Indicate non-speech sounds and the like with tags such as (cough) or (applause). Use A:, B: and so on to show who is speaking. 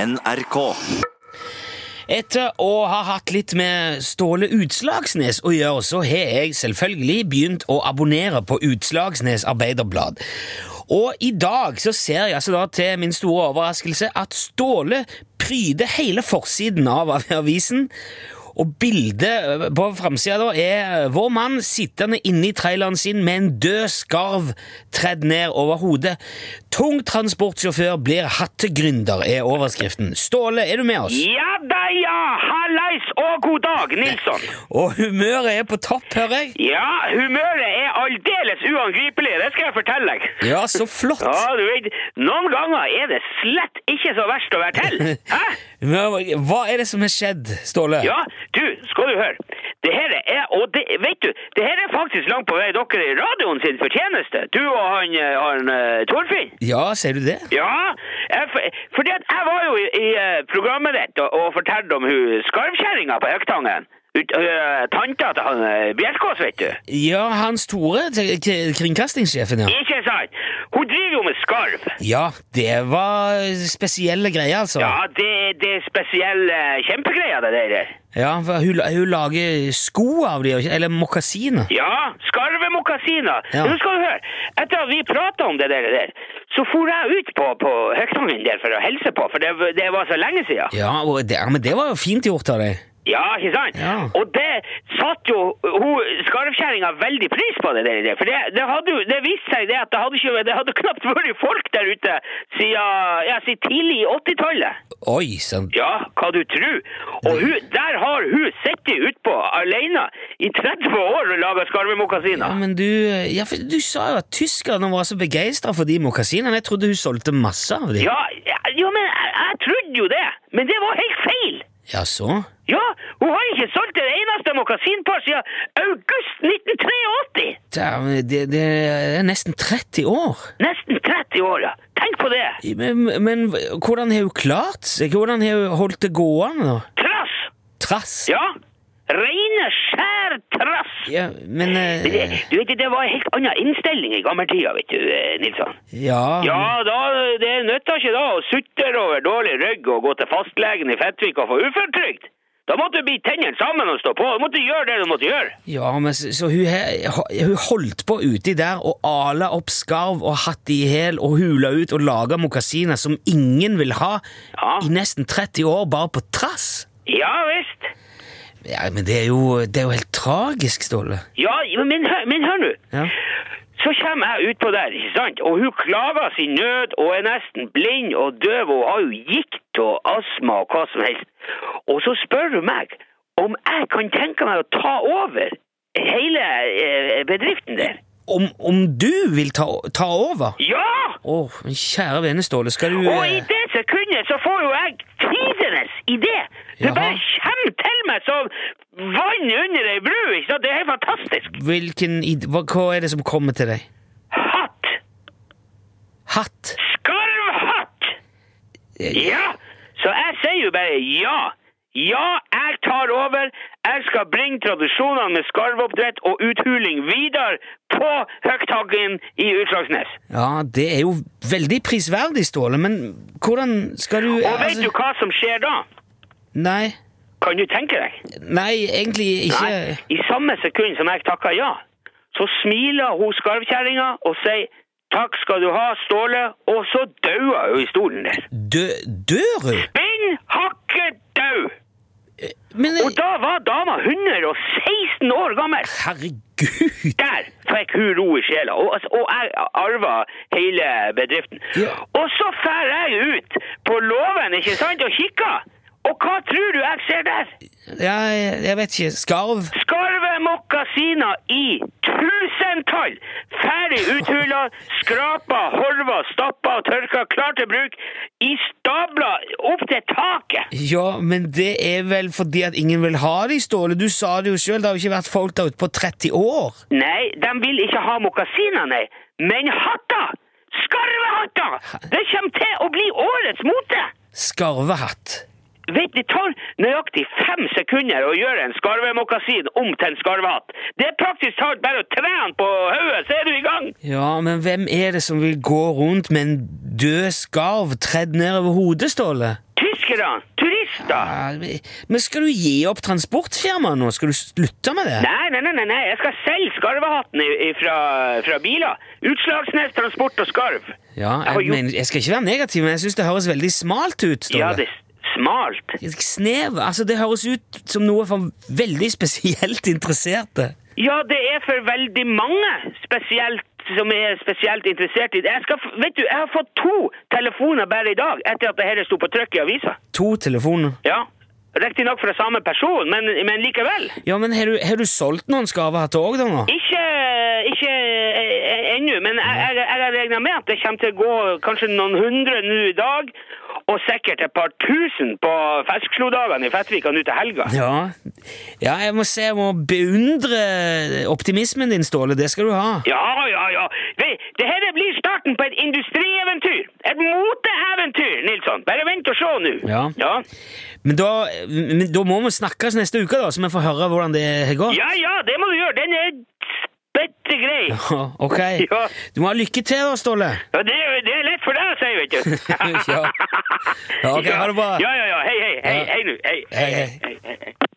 A: NRK.
B: Etter å ha hatt litt med Ståle Utslagsnes å gjøre, så har jeg selvfølgelig begynt å abonnere på Utslagsnes Arbeiderblad. Og i dag så ser jeg altså da til min store overraskelse at Ståle pryder hele forsiden av avisen. Og bildet eh, på framsida da er vår mann sittende inne i traileren sin med en død skarv tredd ned over hodet. Tung transportsjåfør blir hattegründer, er overskriften. Ståle, er du med oss?
C: Ja da, ja! Hallais og god dag, Nilsson.
B: Og humøret er på topp, hører jeg.
C: Ja, humøret er aldeles uangripelig, det skal jeg fortelle deg.
B: Ja, så flott.
C: Ja, du vet, noen ganger er det slett ikke så verst å være til. Hæ?
B: Men Hva er det som har skjedd, Ståle?
C: Ja, du, skal du høre. Det her er, og det, vet du, det her er faktisk langt på vei dere i radioen sin fortjeneste. Du og han, eh, han eh, Torfinn.
B: Ja, sier du det?
C: Ja, jeg, for, fordi at jeg var jo i, i eh, programmet ditt og, og fortalte om hun skarvkjerringa på Høgtangen. Ut- eh, Tanta til han eh, Bjelkås, vet du.
B: Ja, Hans Tore, til- k- kringkastingssjefen, ja.
C: Ikke sant? Hun driver jo med skarv.
B: Ja, det var spesielle greier, altså.
C: Ja, det, det er spesielle eh, kjempegreier, det der.
B: Ja, for hun, hun lager sko av de, eller mokkasiner.
C: Ja, skarvemokkasiner.
B: Ja.
C: Nå skal du høre. Etter at vi prata om det der, der, så for jeg ut på, på Høgtangen der for å hilse på, for det, det var så lenge siden.
B: Ja, og det, ja, men det var jo fint gjort av deg.
C: Ja, ikke sant?
B: Ja.
C: Og det satt jo hun skarvkjerringa veldig pris på, det der. det. For det, det hadde jo det viste seg det at det hadde, ikke, det hadde (laughs) knapt vært folk der ute siden, ja, siden tidlig i 80-tallet.
B: Oi, sånn. sant.
C: Ja, hva du tror. Og hun, der har hun sittet utpå alene i 30 år og laga
B: Ja,
C: skarvemokkasiner.
B: men du, ja, for du sa jo at tyskerne var så begeistra for de mokkasinene. Jeg trodde hun solgte masse av de.
C: Ja, ja, ja, men jeg, jeg trodde jo det. Men det var helt feil!
B: Ja, så?
C: Ja, hun har ikke solgt et eneste mokkasinpar siden august 1983!
B: Det, det, det er nesten 30 år.
C: Nesten 30 år, ja. Tenk på det!
B: Men, men hvordan har hun klart seg? Hvordan har hun holdt det gående? da?
C: Trass!
B: Trass?
C: Ja. Reine, skjær trass!
B: Ja, men
C: Men Det,
B: eh,
C: du vet, det var en helt annen innstilling i gammeltida, vet du, eh, Nilsson.
B: Ja.
C: Ja, da, det nytta ikke da å sutre over dårlig rygg og gå til fastlegen i Fettvik og få uføretrygd. Da måtte du bite tennene sammen og stå på. Du måtte gjøre det du måtte gjøre.
B: ja men så, så hun, har- hun holdt på uti der og ala opp skarv og hatt i hæl og hula ut og laga mokkasiner som ingen vil ha,
C: Ja.
B: i nesten 30 år, bare på trass?
C: Ja visst.
B: Ja, men det er jo, det er jo helt tragisk, Ståle.
C: Ja, men, hør- men hør nå.
B: Ja.
C: Så kommer jeg utpå der, ikke sant? og hun klager sin nød og er nesten blind og døv og har jo gikt og astma og hva som helst. Og så spør hun meg om jeg kan tenke meg å ta over hele eh, bedriften der.
B: Om, om du vil ta, ta over?
C: Ja!
B: Å, men kjære vene, Ståle, skal du
C: Og i
B: eh,
C: det sekundet så får jo jeg tidenes idé! Det
B: Jaha.
C: bare kommer til meg som vann under ei bru! ikke sant? Det er helt fantastisk.
B: Hvilken id- hva, hva er det som kommer til deg?
C: Hatt!
B: Hatt?
C: Skarvhatt!
B: Eh,
C: Ja! Så jeg sier jo bare ja. Ja, jeg tar over. Jeg skal bringe tradisjonene med skarvoppdrett og uthuling videre på Høgtaggen i Utslagsnes.
B: Ja, det er jo veldig prisverdig, Ståle, men hvordan skal du altså,
C: Og vet du hva som skjer da?
B: Nei,
C: Kan du tenke deg?
B: nei, egentlig ikke
C: Nei, I samme sekund som jeg takker ja, så smiler hun skarvkjerringa og sier takk skal du ha, Ståle, og så dauer hun i stolen der.
B: Dø, Dør hun?
C: Binn hakke dau!
B: Men
C: Og da var dama 116 år gammel!
B: herregud!
C: Der fikk hun ro i sjela, og, altså, og jeg arva hele bedriften.
B: Ja.
C: Og så drar jeg ut på låven, ikke sant, og kikker. Og hva tror du jeg ser der?
B: Ja, jeg, jeg vet ikke. Skarv?
C: Skarve mokkasiner i tusentall! Ferdig uthula, skrapa, horva, stappa og tørka, klar til bruk. I stabler opp til taket!
B: Ja, men det er vel fordi at ingen vil ha de, Ståle. Du sa det jo sjøl, det har jo ikke vært folk der ute på 30 år.
C: Nei, de vil ikke ha mokkasiner, nei. Men hatter! Skarvehatter! Det kommer til å bli årets mote!
B: Skarvehatt.
C: Vet, det tar nøyaktig fem sekunder å gjøre en skarvemokkasin om til en skarvehatt. Det er praktisk talt bare å trene på hodet, så er du i gang!
B: Ja, men hvem er det som vil gå rundt med en død skarv tredd ned over hodet, Ståle?
C: Tyskerne Fiskere! Turister!
B: Ja, men skal du gi opp transportfirmaet nå? Skal du slutte med det?
C: Nei, nei, nei, nei, nei, jeg skal selge skarvehatten i- i- fra, fra biler. Utslagsnes, transport og skarv.
B: Ja,
C: Jeg har
B: jeg,
C: gjort-
B: mener, jeg skal ikke være negativ, men jeg syns det høres veldig smalt ut. Ståle.
C: Ja, det er s- smalt.
B: Snev, altså Det høres ut som noe for veldig spesielt interesserte.
C: Ja, det er for veldig mange spesielt som er spesielt interessert i det. Jeg, skal, f- vet du, jeg har fått to telefoner bare i dag etter at det her sto på trykk i avisa.
B: To telefoner.
C: Ja, Riktignok fra samme person, men, men likevel.
B: Ja, men Har du, har du solgt noen skarvehatter òg, da? nå?
C: Ikke, ikke eh, ennå, men jeg, jeg, jeg regner med at det kommer til å gå kanskje noen hundre nå i dag. Og sikkert et par tusen på Feskslodagen i Fettvika nå til helga.
B: Ja. ja, jeg må se, jeg må beundre optimismen din, Ståle. Det skal du ha.
C: Ja, ja, ja. Det, det her blir starten på et industrieventyr. Et moteeventyr, Nilsson. Bare vent og se nå.
B: Ja.
C: ja.
B: Men da, men da må vi snakkes neste uke, da, så vi får høre hvordan det har gått.
C: Ja, ja, det må du gjøre. Den er spette grei.
B: Ja, (laughs) Ok.
C: Ja.
B: Du må ha lykke til, da, Ståle.
C: Ja, det, er- det er lett for deg å si, vet du.
B: (laughs) Ja.
C: (laughs)
B: Ja, ok, ha det bra.
C: Ja, ja, ja. Hei, hei. Hei,
B: Ja.
C: hei nå. Hei,
B: Hei, hei.
C: hei, hei.